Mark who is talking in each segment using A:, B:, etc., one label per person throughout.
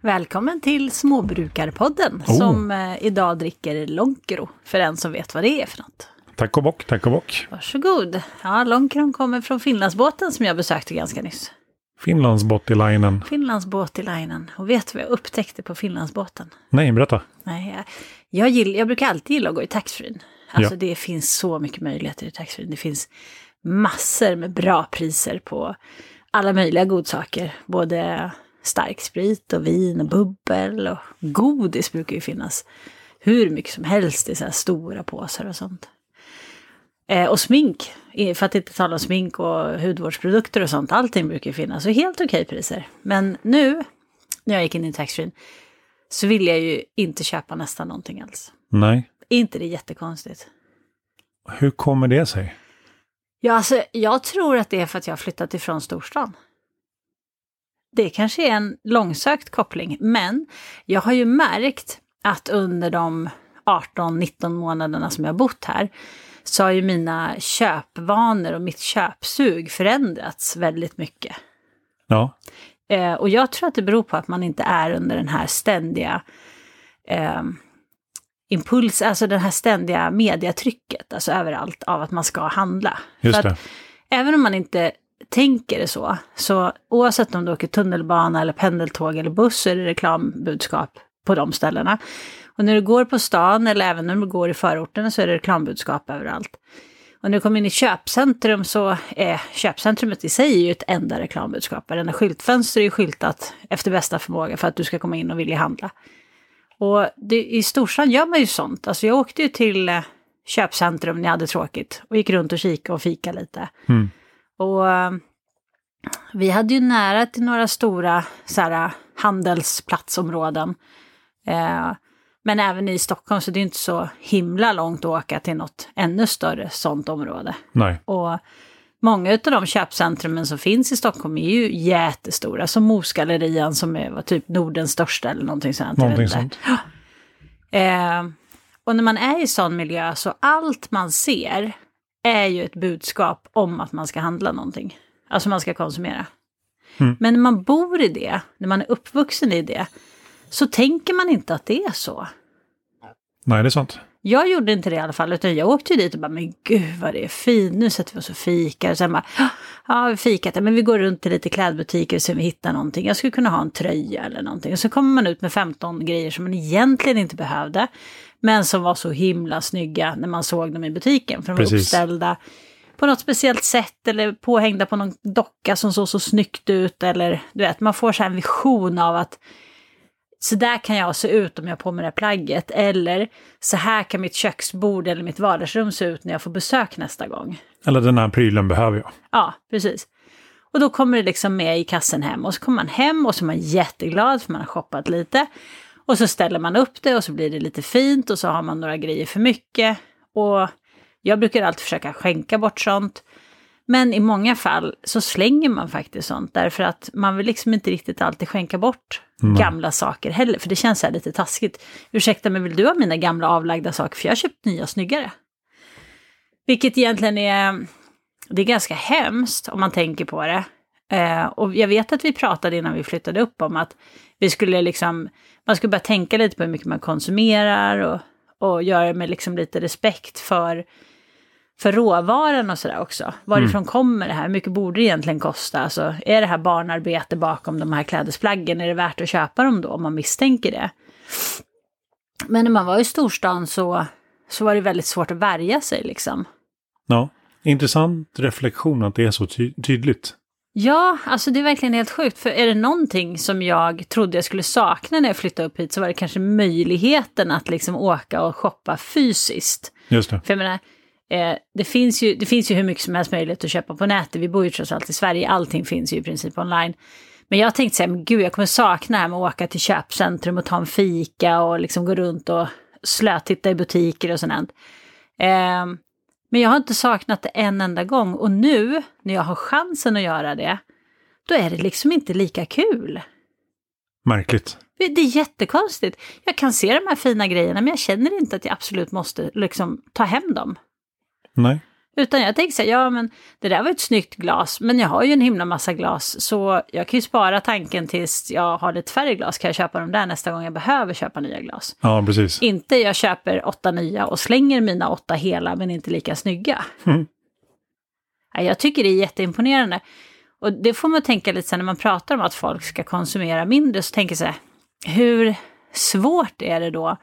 A: Välkommen till Småbrukarpodden
B: Oh.
A: som eh, idag dricker Lonkero, för den som vet vad det är för något.
B: Tack och bock, tack och bock.
A: Varsågod. Ja, Lonkero kommer från Finlandsbåten som jag besökte ganska nyss.
B: Finlands bottylinen.
A: Finlandsbåtilinen. Och vet du vad jag upptäckte på Finlandsbåten?
B: Nej, berätta.
A: Nej, jag, jag, gill, jag brukar alltid gilla att gå i taxfree. Alltså
B: Ja.
A: det finns så mycket möjligheter i taxfree. Det finns massor med bra priser på alla möjliga godsaker. Både starksprit och vin och bubbel och godis brukar ju finnas hur mycket som helst i så här stora påsar och sånt. Eh, och smink, eh, för att inte tala om smink och hudvårdsprodukter och sånt. Allting brukar ju finnas och helt okej priser. Men nu, när jag gick in i taxfree, så vill jag ju inte köpa nästan någonting alls.
B: Nej.
A: Är inte det jättekonstigt?
B: Hur kommer det sig?
A: Ja, alltså, jag tror att det är för att jag har flyttat ifrån storstan. Det kanske är en långsökt koppling, men jag har ju märkt att under de 18-19 månaderna som jag har bott här så har ju mina köpvanor och mitt köpsug förändrats väldigt mycket.
B: Ja,
A: Eh, och jag tror att det beror på att man inte är under den här ständiga eh, impuls, alltså det här ständiga mediatrycket, alltså överallt, av att man ska handla.
B: just
A: För
B: det.
A: att även om man inte tänker det så, så oavsett om du åker tunnelbana eller pendeltåg eller buss så är det reklambudskap på de ställena. Och när du går på stan eller även när du går i förorten så är det reklambudskap överallt. Och när du kommer in i köpcentrum så är köpcentrumet i sig ju ett enda reklambudskap. Varenda skyltfönster är ju skyltat efter bästa förmåga för att du ska komma in och vilja handla. Och det, i storstan gör man ju sånt. Alltså jag åkte ju till eh, köpcentrum när jag hade tråkigt och gick runt och kika och fika lite.
B: Mm.
A: Och eh, vi hade ju nära till några stora så här, handelsplatsområden. Eh, men även i Stockholm så det är ju inte så himla långt att åka till något ännu större sånt område.
B: Nej.
A: Och många av de köpcentrumen som finns i Stockholm är ju jättestora. Som Mosgallerian som är, var typ Nordens största eller någonting sånt. jag vet
B: Någonting
A: inte.
B: sånt.
A: Eh, och när man är i sån miljö så allt man ser är ju ett budskap om att man ska handla någonting. Alltså man ska konsumera.
B: Mm.
A: Men när man bor i det, när man är uppvuxen i det, så tänker man inte att det är så.
B: Nej, det är sant.
A: Jag gjorde inte det i alla fall, utan jag åkte ju dit och bara, men gud vad det är fint, nu sätter vi oss och fikar. Och sen bara, "Ja, ja vi har fikat, Ja, men vi går runt till lite klädbutiker och ser om vi hittar någonting. Jag skulle kunna ha en tröja eller någonting. Och så kommer man ut med 15 grejer som man egentligen inte behövde, men som var så himla snygga när man såg dem i butiken. För de var
B: Precis.
A: uppställda på något speciellt sätt eller påhängda på någon docka som såg så snyggt ut. Eller du vet, man får så här en vision av att så där kan jag se ut om jag har på mig det här plagget. Eller så här kan mitt köksbord eller mitt vardagsrum se ut när jag får besök nästa gång.
B: Eller den här prylen behöver jag.
A: Ja, precis. Och då kommer det liksom med i kassen hem och så kommer man hem och så är man jätteglad för man har shoppat lite. Och så ställer man upp det och så blir det lite fint och så har man några grejer för mycket. Och jag brukar alltid försöka skänka bort sånt. Men i många fall så slänger man faktiskt sånt därför att man vill liksom inte riktigt alltid skänka bort gamla saker heller. För det känns så här lite taskigt. Ursäkta men vill du ha mina gamla avlagda saker för jag har köpt nya snyggare. Vilket egentligen är det är ganska hemskt om man tänker på det. Eh, och jag vet att vi pratade innan vi flyttade upp om att vi skulle liksom, man skulle börja tänka lite på hur mycket man konsumerar och, och göra det med liksom lite respekt för, för råvaran och sådär också. Varifrån kommer det här? Hur mycket borde det egentligen kosta? Alltså, är det här barnarbete bakom de här klädesplaggen? Är det värt att köpa dem då om man misstänker det? Men när man var i storstan så, så var det väldigt svårt att värja sig liksom.
B: Ja. Intressant reflektion att det är så ty- tydligt.
A: Ja, alltså det är verkligen helt sjukt. För är det någonting som jag trodde jag skulle sakna när jag flyttade upp hit så var det kanske möjligheten att liksom åka och shoppa fysiskt.
B: Just det.
A: För jag menar, eh, det, finns ju, det finns ju hur mycket som helst möjlighet att köpa på nätet. Vi bor ju trots allt i Sverige, allting finns ju i princip online. Men jag tänkte säga, men gud jag kommer sakna det här med att åka till köpcentrum och ta en fika och liksom gå runt och slötitta i butiker och sånt. Eh, men jag har inte saknat det en enda gång och nu när jag har chansen att göra det, då är det liksom inte lika kul.
B: Märkligt.
A: Det det är jättekonstigt. Jag kan se de här fina grejerna men jag känner inte att jag absolut måste liksom ta hem dem.
B: Nej.
A: Utan jag tänker så här, ja men det där var ett snyggt glas, men jag har ju en himla massa glas, så jag kan ju spara tanken tills jag har lite färre glas, kan jag köpa de där nästa gång jag behöver köpa nya glas.
B: Ja, precis.
A: Inte jag köper åtta nya och slänger mina åtta hela men inte lika snygga.
B: Mm.
A: Ja, Jag tycker det är jätteimponerande. Och det får man tänka lite sen när man pratar om att folk ska konsumera mindre, så tänker jag så här, hur svårt är det då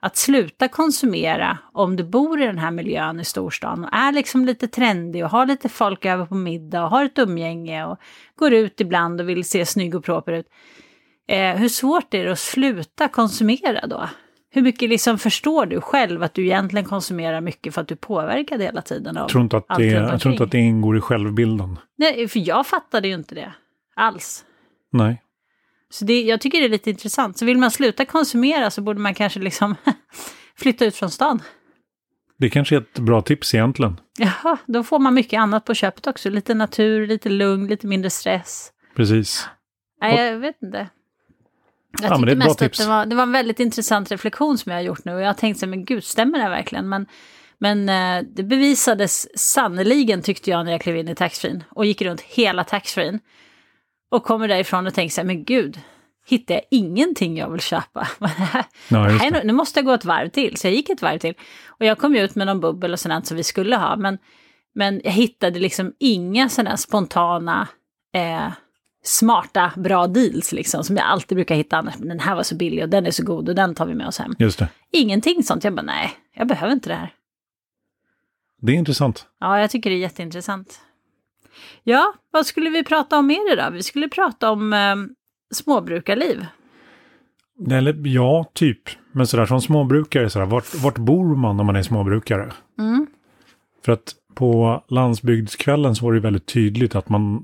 A: att sluta konsumera om du bor i den här miljön i storstan och är liksom lite trendig och har lite folk över på middag och har ett umgänge och går ut ibland och vill se snygg och proper ut. Eh, hur svårt är det att sluta konsumera då? Hur mycket liksom förstår du själv att du egentligen konsumerar mycket för att du påverkar hela tiden av
B: Jag tror, inte att
A: allt
B: det,
A: runt
B: jag tror inte
A: omkring?
B: att det ingår i självbilden.
A: Nej, för jag fattade ju inte det alls.
B: Nej.
A: Så det, jag tycker det är lite intressant. Så vill man sluta konsumera så borde man kanske liksom flytta ut från stan.
B: Det kanske är ett bra tips egentligen.
A: Jaha, då får man mycket annat på köpet också. Lite natur, lite lugn, lite mindre stress.
B: Precis.
A: Nej, jag vet inte. Jag
B: Ja,
A: tyckte
B: men det är ett bra
A: mest att
B: tips.
A: det var, det var en väldigt intressant reflektion som jag har gjort nu. Och jag har tänkt så här, men gud, stämmer det här verkligen? Men, men eh, det bevisades sannerligen tyckte jag när jag klev in i taxfree och gick runt hela taxfree Och kommer därifrån och tänker så här, men gud, hittar jag ingenting jag vill köpa? Vad är det här?
B: Ja, just
A: Nej,
B: det.
A: nu, nu måste jag gå ett varv till. Så jag gick ett varv till. Och jag kom ju ut med någon bubbel och sånt som vi skulle ha. Men, men jag hittade liksom inga sådana spontana, eh, smarta, bra deals liksom. Som jag alltid brukar hitta annars. Men den här var så billig och den är så god och den tar vi med oss hem.
B: Just det.
A: Ingenting sånt. Jag bara, nej, jag behöver inte det här.
B: Det är intressant.
A: Ja, jag tycker det är jätteintressant. Ja, vad skulle vi prata om mer idag? Vi skulle prata om eh, småbrukarliv.
B: Eller ja, typ. Men sådär som småbrukare, sådär, vart, vart bor man om man är småbrukare?
A: Mm.
B: För att på landsbygdskvällen så var det väldigt tydligt att man,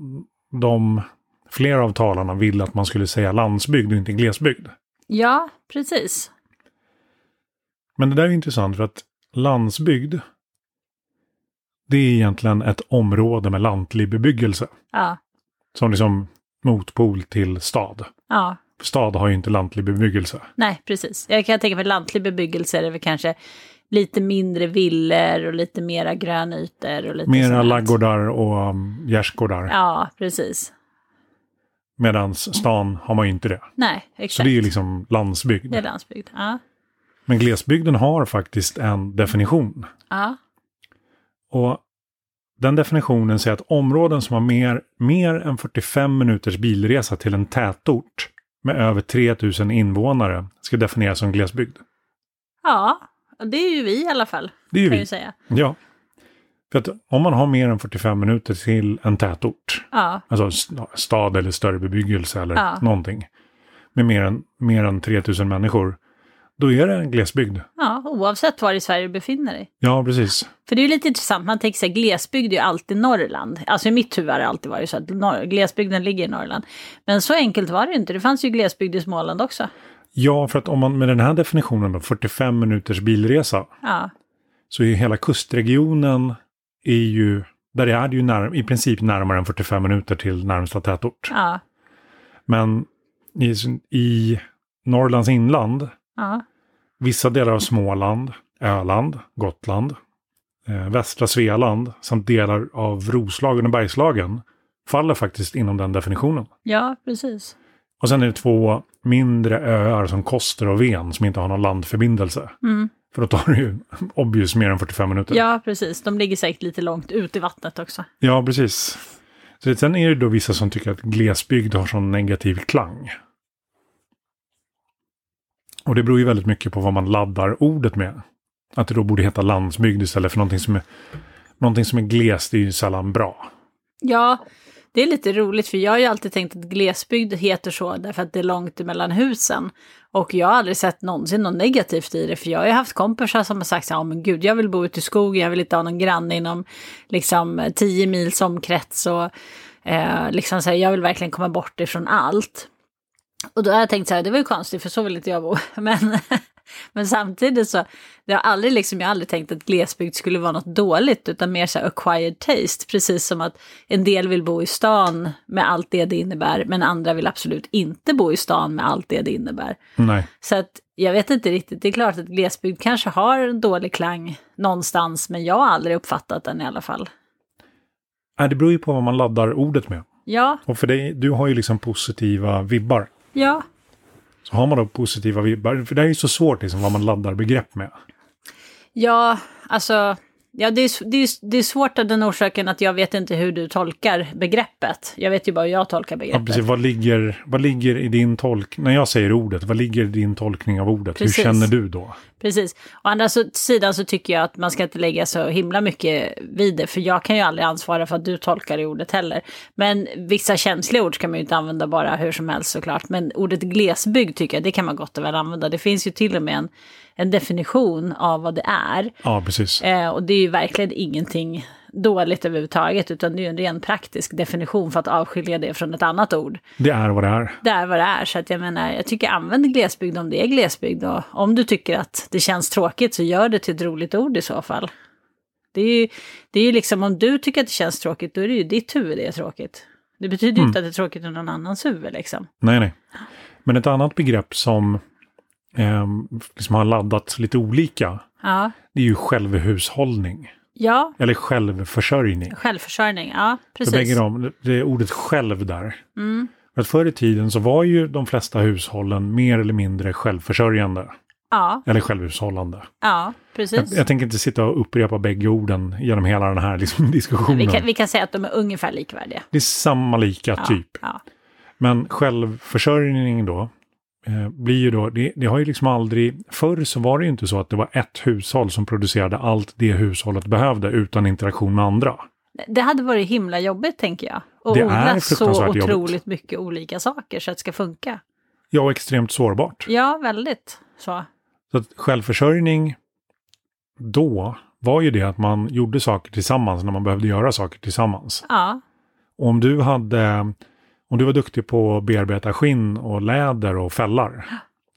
B: de, flera av talarna ville att man skulle säga landsbygd och inte glesbygd.
A: Ja, precis.
B: Men det där är intressant för att landsbygd, det är egentligen ett område med lantlig bebyggelse.
A: Ja,
B: Som liksom motpol till stad.
A: ja.
B: För stad har ju inte lantlig bebyggelse.
A: Nej, precis. Jag kan tänka mig lantlig bebyggelse är det väl kanske lite mindre villor och lite mera grönytor och lite
B: Mera
A: sånt.
B: laggårdar och um, gärdsgårdar.
A: Ja, precis.
B: Medan stan har man ju inte det.
A: Nej,
B: Så
A: exakt.
B: det är ju liksom landsbygd.
A: Det är landsbygd. Ja.
B: Men glesbygden har faktiskt en definition.
A: ja.
B: Och den definitionen säger att områden som har mer, mer än 45 minuters bilresa till en tätort med över 3000 invånare ska definieras som glesbygd.
A: Ja, det är ju vi i alla fall.
B: Det är ju
A: Kan vi
B: vi.
A: säga.
B: Ja. För att om man har mer än 45 minuter till en tätort,
A: Ja,
B: alltså st- stad eller större bebyggelse eller
A: Ja.
B: någonting, med mer än, mer än 3000 människor, då är det en glesbygd.
A: ja, oavsett var i Sverige du befinner dig.
B: Ja, precis.
A: För det är ju lite intressant, man tänker sig glesbygd är ju alltid Norrland. Alltså i mitt huvud har det alltid varit så att norr, glesbygden ligger i Norrland. Men så enkelt var det ju inte, det fanns ju glesbygd i Småland också.
B: Ja, för att om man med den här definitionen då, 45 minuters bilresa,
A: Ja,
B: så är hela kustregionen är ju, där är det ju när, i princip närmare än 45 minuter till närmsta tätort.
A: ja,
B: Men i, i Norrlands inland,
A: ja,
B: vissa delar av Småland, Öland, Gotland, eh, västra Svealand samt delar av Roslagen och Bergslagen faller faktiskt inom den definitionen.
A: ja precis.
B: Och sen är det två mindre öar som Koster och Ven som inte har någon landförbindelse.
A: Mm.
B: För då tar det ju obvious mer än 45 minuter.
A: Ja, precis. De ligger säkert lite långt ut i vattnet också.
B: Ja, precis. Så det, sen är det då vissa som tycker att glesbygd har sån negativ klang. Och det beror ju väldigt mycket på vad man laddar ordet med. Att det då borde heta landsbygd istället för någonting som är, någonting som är glest är ju sällan bra.
A: Ja, det är lite roligt för jag har ju alltid tänkt att glesbygd heter så därför att det är långt mellan husen. Och jag har aldrig sett någonsin något negativt i det för jag har ju haft kompisar som har sagt så här, "Ja, men gud jag vill bo ute i skogen, jag vill inte ha någon granne inom liksom 10 mils omkrets och eh, liksom så här, jag vill verkligen komma bort ifrån allt. Och då har jag tänkt så här, det var ju konstigt för så vill inte jag bo. Men, men samtidigt så, det har aldrig liksom, jag har aldrig tänkt att glesbygd skulle vara något dåligt utan mer så här acquired taste. Precis som att en del vill bo i stan med allt det det innebär men andra vill absolut inte bo i stan med allt det det innebär.
B: Nej,
A: Så att Jag vet inte riktigt, det är klart att glesbygd kanske har en dålig klang någonstans, men jag har aldrig uppfattat den i alla fall.
B: Nej, det beror ju på vad man laddar ordet med.
A: Ja,
B: Och för dig, du har ju liksom positiva vibbar.
A: ja,
B: Så har man då positiva vibbar, för det är ju så svårt liksom vad man laddar begrepp med.
A: ja, alltså, ja, det, är, s- det, är, s- det är svårt av den orsaken att jag vet inte hur du tolkar begreppet. Jag vet ju bara hur jag tolkar
B: Ja,
A: begreppet.
B: precis. Vad ligger, vad ligger i din tolk... När jag säger ordet, vad ligger i din tolkning av ordet?
A: Precis.
B: Hur känner du då?
A: Precis. Å andra så- sidan så tycker jag att man ska inte lägga så himla mycket vid det, för jag kan ju aldrig ansvara för att du tolkar det ordet heller. Men vissa känsliga ord ska man ju inte använda bara hur som helst såklart. Men ordet glesbygd tycker jag, det kan man gott och väl använda. Det finns ju till och med en, en definition av vad det är.
B: Ja, precis.
A: Eh, och det är ju verkligen ingenting dåligt överhuvudtaget, utan det är ju en ren praktisk definition för att avskilja det från ett annat ord
B: Det är vad det är.
A: det är vad det är. Så att jag menar, jag tycker använd glesbygd om det är glesbygd. Och om du tycker att det känns tråkigt så gör det till ett roligt ord i så fall. Det är ju, det är ju liksom om du tycker att det känns tråkigt, då är det ju ditt huvud det är tråkigt. Det betyder
B: Mm.
A: ju inte att det är tråkigt i någon annans huvud liksom.
B: Nej, nej. Men ett annat begrepp som ehm, liksom har laddats lite olika,
A: Ja.
B: det är ju självhushållning.
A: Ja,
B: Eller självförsörjning.
A: självförsörjning. Ja,
B: För bägge
A: precis. Mm.
B: de, det är ordet själv där. För att förr i tiden så var ju de flesta hushållen mer eller mindre självförsörjande.
A: Ja,
B: Eller självhushållande.
A: ja,
B: Jag,
A: precis.
B: jag tänker inte sitta och upprepa bägge orden genom hela den här liksom,
A: vi,
B: diskussionen.
A: kan, vi kan säga att de är ungefär likvärdiga.
B: Det är samma lika
A: Ja,
B: typ.
A: ja.
B: Men självförsörjning då, eh, blir ju då, det, det har ju liksom aldrig, förr så var det ju inte så att det var ett hushåll som producerade allt det hushållet behövde utan interaktion med andra.
A: Det hade varit himla jobbigt tänker jag. Och
B: Det är
A: odla så
B: fruktansvärt
A: otroligt
B: jobbigt.
A: mycket olika saker så att det ska funka.
B: Ja, och extremt sårbart.
A: Ja, väldigt så.
B: Så att självförsörjning då var ju det att man gjorde saker tillsammans när man behövde göra saker tillsammans.
A: Ja,
B: Och om du hade, om du var duktig på att bearbeta skinn och läder och fällar,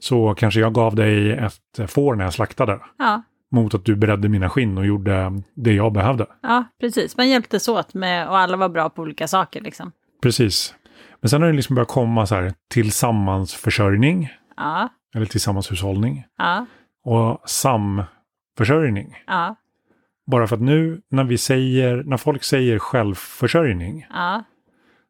B: så kanske jag gav dig ett får när jag slaktade.
A: ja,
B: Mot att du beredde mina skinn och gjorde det jag behövde.
A: ja, precis. Man hjälptes åt med, och alla var bra på olika saker liksom.
B: Precis. Men sen har det liksom börjat komma så här tillsammansförsörjning,
A: Ja,
B: eller tillsammanshushållning,
A: ja,
B: och samförsörjning.
A: ja,
B: Bara för att nu när vi säger, när folk säger självförsörjning,
A: ja,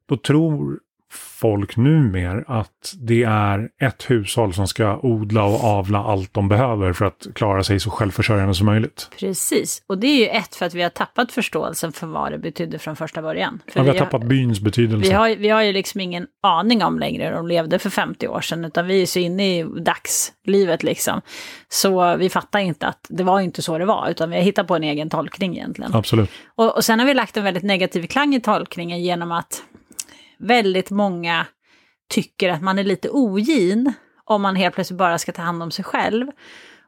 B: då tror folk numer att det är ett hushåll som ska odla och avla allt de behöver för att klara sig så självförsörjande som möjligt.
A: precis. Och det är ju ett för att vi har tappat förståelsen för vad det betydde från första början. För
B: Ja, vi har tappat byns
A: vi
B: betydelse.
A: har, vi har ju liksom ingen aning om längre hur de levde för 50 år sedan, utan vi är så inne i dagslivet liksom. Så vi fattar inte att det var inte så det var, utan vi har hittat på en egen tolkning egentligen.
B: Absolut.
A: Och, och sen har vi lagt en väldigt negativ klang i tolkningen genom att väldigt många tycker att man är lite ogin om man helt plötsligt bara ska ta hand om sig själv.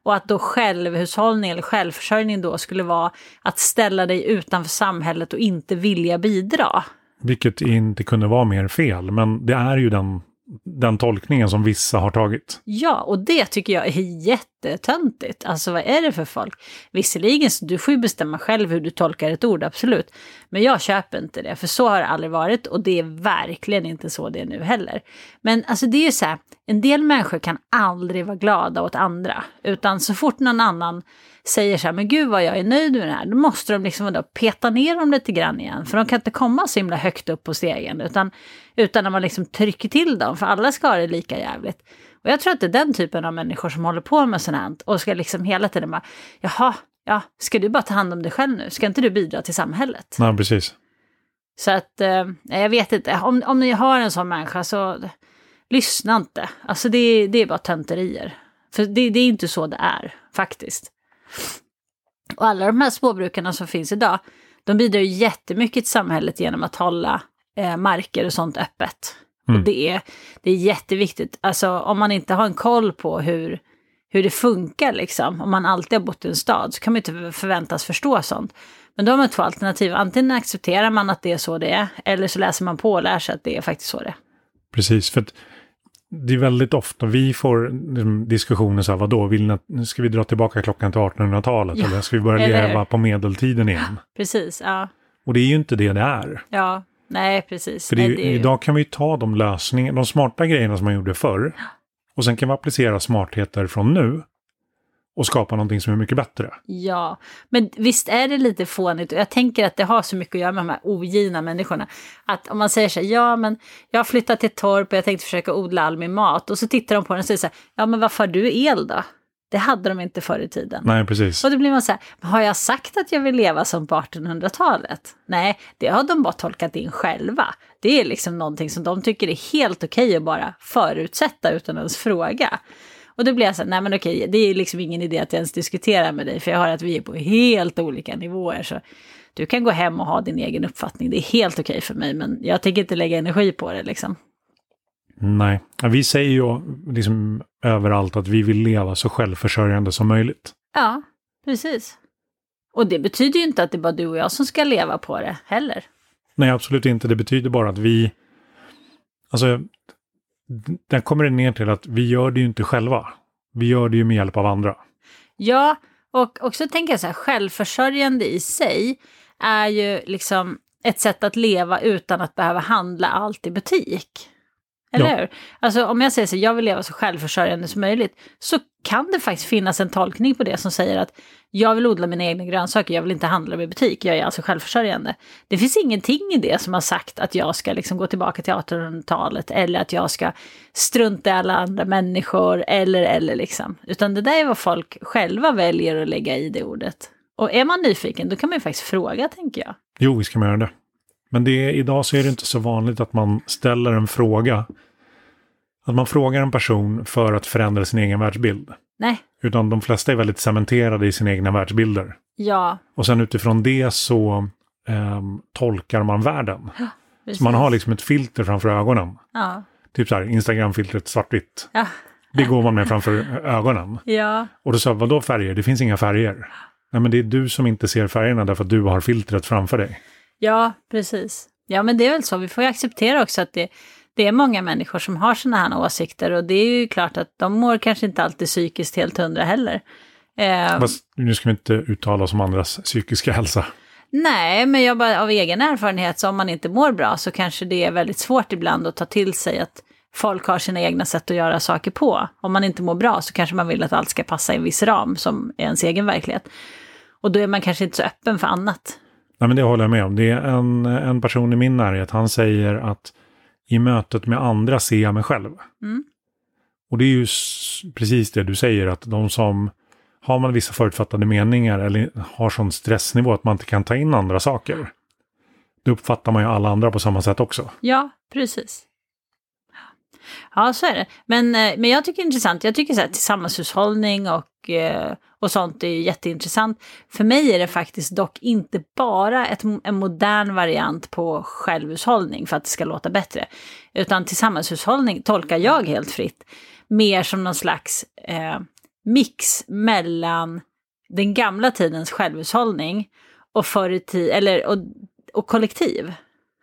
A: Och att då självhushållning eller självförsörjning då skulle vara att ställa dig utanför samhället och inte vilja bidra.
B: Vilket inte kunde vara mer fel, men det är ju den, den tolkningen som vissa har tagit.
A: Ja, och det tycker jag är jättetöntigt. Alltså vad är det för folk? Visserligen, så du får ju bestämma själv hur du tolkar ett ord, absolut. Men jag köper inte det, för så har det aldrig varit och det är verkligen inte så det är nu heller. Men alltså det är ju så här, en del människor kan aldrig vara glada åt andra. Utan så fort någon annan säger så här, men gud vad jag är nöjd med det här, då måste de liksom vadå, peta ner dem lite grann igen. För de kan inte komma så himla högt upp på stegen, utan, utan när man liksom trycker till dem, för alla ska ha det lika jävligt. Och jag tror att det är den typen av människor som håller på med sånt här och ska liksom hela tiden bara, jaha, ja, ska du bara ta hand om dig själv nu? Ska inte du bidra till samhället?
B: Nej, precis.
A: Så att, eh, jag vet inte, om, om ni har en sån människa så lyssna inte. Alltså det, det är bara tönterier. För det, det är inte så det är, faktiskt. Och alla de här småbrukarna som finns idag, de bidrar ju jättemycket till samhället genom att hålla eh, marker och sånt öppet.
B: Mm.
A: Och det är, det är jätteviktigt, alltså om man inte har en koll på hur, hur det funkar liksom, om man alltid har bott i en stad, så kan man inte förväntas förstå sånt. Men då har man två alternativ, antingen accepterar man att det är så det är, eller så läser man på och lär sig att det är faktiskt så det är.
B: Precis, för att det är väldigt ofta vi får mm, diskussioner så här, vadå, vill ni, att- nu ska vi dra tillbaka klockan till 1800-talet
A: Ja,
B: eller ska vi börja
A: eller hur?
B: leva på medeltiden igen?
A: Precis, ja.
B: Och det är ju inte det det är.
A: Ja, nej precis.
B: För det är,
A: nej,
B: ju-
A: det är ju-
B: idag kan vi ju ta de lösningar, de smarta grejerna som man gjorde förr och Och sen kan vi applicera smartheter från nu och skapa någonting som är mycket bättre.
A: Ja, men visst är det lite fånigt och jag tänker att det har så mycket att göra med de här ogina människorna. Att om man säger så här, ja men jag har flyttat till torp och jag tänkte försöka odla all min mat och så tittar de på den och säger så här, ja men varför har du el då? Det hade de inte förr i tiden.
B: Nej, precis.
A: Och då blir man så här, "Men har jag sagt att jag vill leva som på 1800-talet? Nej, det har de bara tolkat in själva. Det är liksom någonting som de tycker är helt okej att bara förutsätta utan ens fråga. Och då blir jag så här, nej men okej, det är liksom ingen idé att jag ens diskuterar med dig, för jag hör att vi är på helt olika nivåer. Så du kan gå hem och ha din egen uppfattning, det är helt okej för mig, men jag tänker inte lägga energi på det liksom.
B: Nej, Ja, vi säger ju liksom överallt att vi vill leva så självförsörjande som möjligt.
A: Ja, precis. Och det betyder ju inte att det är bara du och jag som ska leva på det heller.
B: Nej, absolut inte. Det betyder bara att vi... Alltså, d- där kommer det ner till att vi gör det ju inte själva. Vi gör det ju med hjälp av andra.
A: Ja, och också tänker jag så här, självförsörjande i sig är ju liksom ett sätt att leva utan att behöva handla allt i butik. Eller
B: Ja.
A: hur? Alltså om jag säger så, här, jag vill leva så självförsörjande som möjligt, så kan det faktiskt finnas en tolkning på det som säger att jag vill odla mina egna grönsaker, jag vill inte handla dem i butik, jag är alltså självförsörjande. Det finns ingenting i det som har sagt att jag ska liksom gå tillbaka till 1800-talet eller att jag ska strunta i alla andra människor eller eller liksom. Utan det där är vad folk själva väljer att lägga i det ordet. Och är man nyfiken då kan man ju faktiskt fråga tänker jag.
B: Jo, vi ska man göra det. Men det är, idag så är det inte så vanligt att man ställer en fråga. Att man frågar en person för att förändra sin egen världsbild.
A: Nej,
B: Utan de flesta är väldigt cementerade i sina egna världsbilder.
A: ja.
B: Och sen utifrån det så ehm, tolkar man världen.
A: precis.
B: Så man har liksom ett filter framför ögonen.
A: Ja,
B: Typ så här, Instagram-filtret svartvitt.
A: ja,
B: Det går man med framför ögonen.
A: ja,
B: Och då sa jag, vadå färger? Det finns inga färger. Nej men det är du som inte ser färgerna därför att du har filtret framför dig.
A: ja, precis. Ja, men det är väl så. Vi får ju acceptera också att det, det är många människor som har sådana här åsikter och det är ju klart att de mår kanske inte alltid psykiskt helt hundra heller. Eh,
B: Fast nu ska vi inte uttala oss om andras psykiska hälsa.
A: Nej, men jag bara, av egen erfarenhet så om man inte mår bra så kanske det är väldigt svårt ibland att ta till sig att folk har sina egna sätt att göra saker på. Om man inte mår bra så kanske man vill att allt ska passa i en viss ram som är ens egen verklighet. Och då är man kanske inte så öppen för annat.
B: Nej men det håller jag med om. Det är en, en person i min närhet, han säger att i mötet med andra ser jag mig själv.
A: Mm.
B: Och det är ju s- precis det du säger, att de som har man vissa förutfattade meningar eller har sån stressnivå att man inte kan ta in andra saker. Då uppfattar man ju alla andra på samma sätt också.
A: Ja, precis. Ja, så är det. Men, eh, men jag tycker det är intressant. Jag tycker så här, tillsammanshushållning och, eh, och sånt är ju jätteintressant. För mig är det faktiskt dock inte bara ett, en modern variant på självhushållning för att det ska låta bättre. Utan tillsammanshushållning tolkar jag helt fritt mer som någon slags eh, mix mellan den gamla tidens självhushållning och, förr i ti- eller, och, och kollektiv.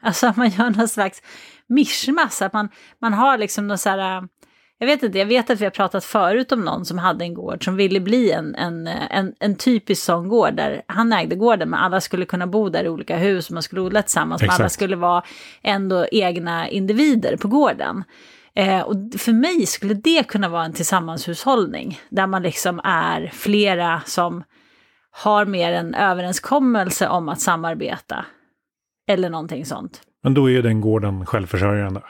A: Alltså att man gör någon slags mischmasch, att man, man har liksom någon så här... äh, Jag vet inte, jag vet att vi har pratat förut om någon som hade en gård som ville bli en, en, äh, en, en typisk sån gård där han ägde gården men alla skulle kunna bo där i olika hus och man skulle odla tillsammans men alla
B: Exakt.
A: skulle vara ändå egna individer på gården. Eh, och för mig skulle det kunna vara en tillsammanshushållning där man liksom är flera som har mer en överenskommelse om att samarbeta. Eller någonting sånt.
B: Men då är ju den gården självförsörjande.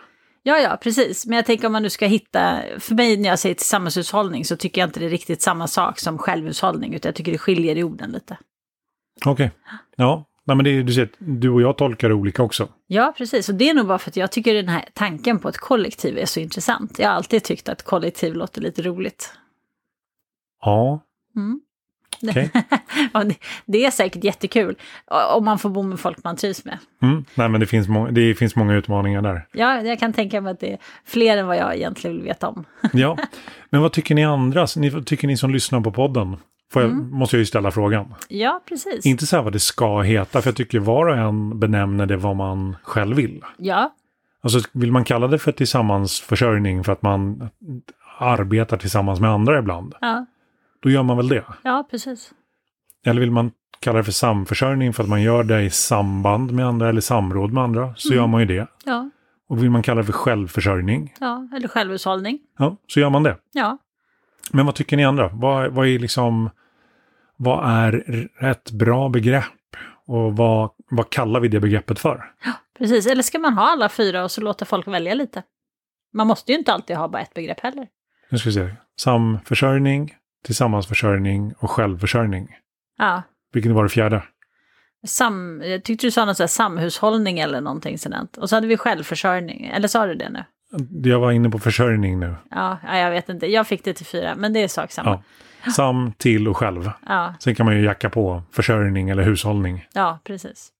A: Ja, ja, precis. Men jag tänker om man nu ska hitta, för mig när jag säger tillsammanshushållning så tycker jag inte det är riktigt samma sak som självhushållning, utan jag tycker det skiljer i orden lite.
B: Okej. Ja, Nej, men det är, du ser, du och jag tolkar det olika också.
A: Ja, precis. Och det är nog bara för att jag tycker den här tanken på ett kollektiv är så intressant. Jag har alltid tyckt att kollektiv låter lite roligt.
B: Ja,
A: Mm.
B: okej.
A: Ja, det, det är säkert jättekul o- om man får bo med folk man trivs med.
B: Mm. Nej, men det finns, må- det finns många utmaningar där.
A: Ja, jag kan tänka mig att det är fler än vad jag egentligen vill veta om.
B: Ja, men vad tycker ni andra? Ni, tycker ni som lyssnar på podden? Får jag, Måste jag ju ställa frågan.
A: Ja, precis.
B: Inte så här vad det ska heta, för jag tycker var och en benämner det vad man själv vill.
A: Ja,
B: Alltså vill man kalla det för tillsammansförsörjning för att man arbetar tillsammans med andra ibland,
A: ja,
B: då gör man väl det.
A: ja, precis.
B: Eller vill man kalla det för samförsörjning för att man gör det i samband med andra eller samråd med andra, så gör man ju det.
A: Ja,
B: Och vill man kalla det för självförsörjning,
A: Ja, eller självhushållning.
B: ja, så gör man det.
A: Ja.
B: Men vad tycker ni andra? Vad, vad är liksom... Vad är rätt bra begrepp? Och vad, vad kallar vi det begreppet för?
A: Precis, eller ska man ha alla fyra och så låta folk välja lite? Man måste ju inte alltid ha bara ett begrepp heller.
B: Nu ska vi se. Samförsörjning, tillsammansförsörjning och självförsörjning.
A: Ja.
B: Vilken var det fjärde?
A: Sam, jag tyckte du sa något sådär samhushållning eller någonting sådant. Och så hade vi självförsörjning, eller sa du det nu?
B: Jag var inne på försörjning nu.
A: Ja, ja jag vet inte. Jag fick det till fyra, men det är sak samma.
B: Ja. Sam, till och själv.
A: Ja,
B: Sen kan man ju jacka på försörjning eller hushållning.
A: ja precis.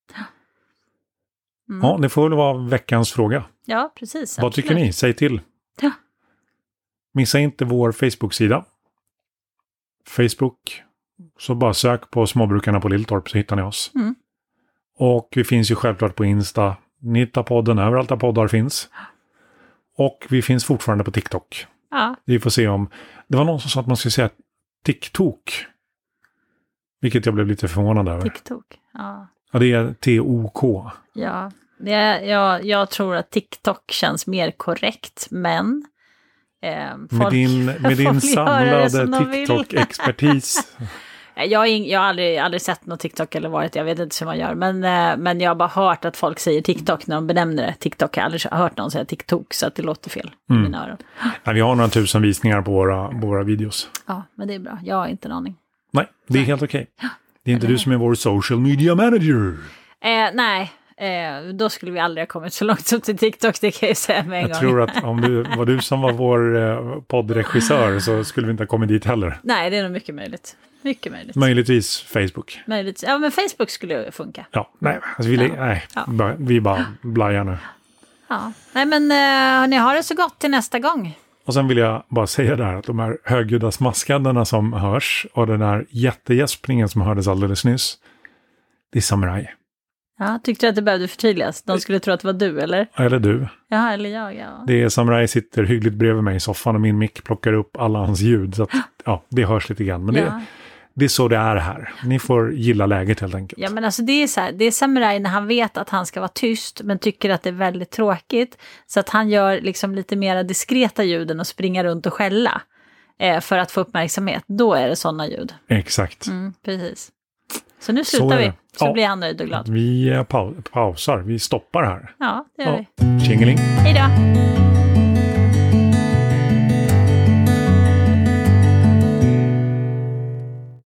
B: Ja, det får väl vara veckans fråga.
A: Ja, precis.
B: Vad tycker ni? Säg till.
A: Ja.
B: Missa inte vår Facebook-sida. Facebook. Så bara sök på Småbrukarna på Lilltorp så hittar ni oss.
A: Mm.
B: Och vi finns ju självklart på Insta. Ni hittar podden överallt där poddar finns. Och vi finns fortfarande på TikTok.
A: Ja,
B: Vi får se om... Det var någon som sa att man skulle säga TikTok. Vilket jag blev lite förvånad över.
A: TikTok. Ja,
B: Ja, det är T-O-K.
A: ja. Jag, jag, jag tror att TikTok känns mer korrekt, men... Eh, folk,
B: Med din, med din
A: folk gör det som
B: samlade
A: de vill.
B: TikTok-expertis.
A: Nej, Eh, Jag har, ing, jag har aldrig, aldrig sett något TikTok eller varit, jag vet inte hur man gör, men, eh, men jag har bara hört att folk säger TikTok när de benämner det. TikTok, jag har aldrig hört någon säga TikTok, så att det låter fel
B: Mm.
A: i mina öron.
B: Nej, vi har några tusen visningar på våra, på våra videos.
A: Ja, men det är bra. Jag har inte en aning.
B: Nej, det är helt okej. Det är inte du som är vår social media manager.
A: Eh, nej, eh, då skulle vi aldrig ha kommit så långt som till TikTok, det kan jag ju säga med en
B: Jag
A: gång.
B: tror att om du var du som var vår eh, poddregissör så skulle vi inte ha kommit dit heller.
A: Nej, det är nog mycket möjligt. Mycket möjligt.
B: Möjligtvis Facebook.
A: möjligt. Ja, men Facebook skulle ju funka.
B: Ja, nej, alltså vi, nej
A: Ja.
B: bara- vi bara blajar nu.
A: Ja. Nej, men eh, hörni, ha det så gott till nästa gång.
B: Och sen vill jag bara säga där att de här högljudda smaskandena som hörs och den här jättegäspningen som hördes alldeles nyss, det är samuraj.
A: Ja, tyckte du att det behövde förtydligas? De skulle tro att det var du, eller?
B: Eller du.
A: Ja, eller jag, ja.
B: Det är Samurai sitter hyggligt bredvid mig i soffan och min mick plockar upp alla hans ljud. Så att, ja, det hörs lite grann. Men
A: Ja.
B: det, det är så det är här. Ni får gilla läget helt enkelt.
A: ja, men alltså det är så här, det är samurai när han vet att han ska vara tyst, men tycker att det är väldigt tråkigt. Så att han gör liksom lite mera diskreta ljuden och springer runt och skälla. Eh, för att få uppmärksamhet. Då är det sådana ljud.
B: Exakt.
A: Mm, precis. Så nu
B: Så
A: slutar
B: är
A: vi,
B: det.
A: så
B: Ja. Mm.
A: blir han nöjd och glad.
B: Vi eh, pau pausar, vi stoppar här.
A: Ja, det gör
B: Ja.
A: vi.
B: Tjingeling.
A: Hej då!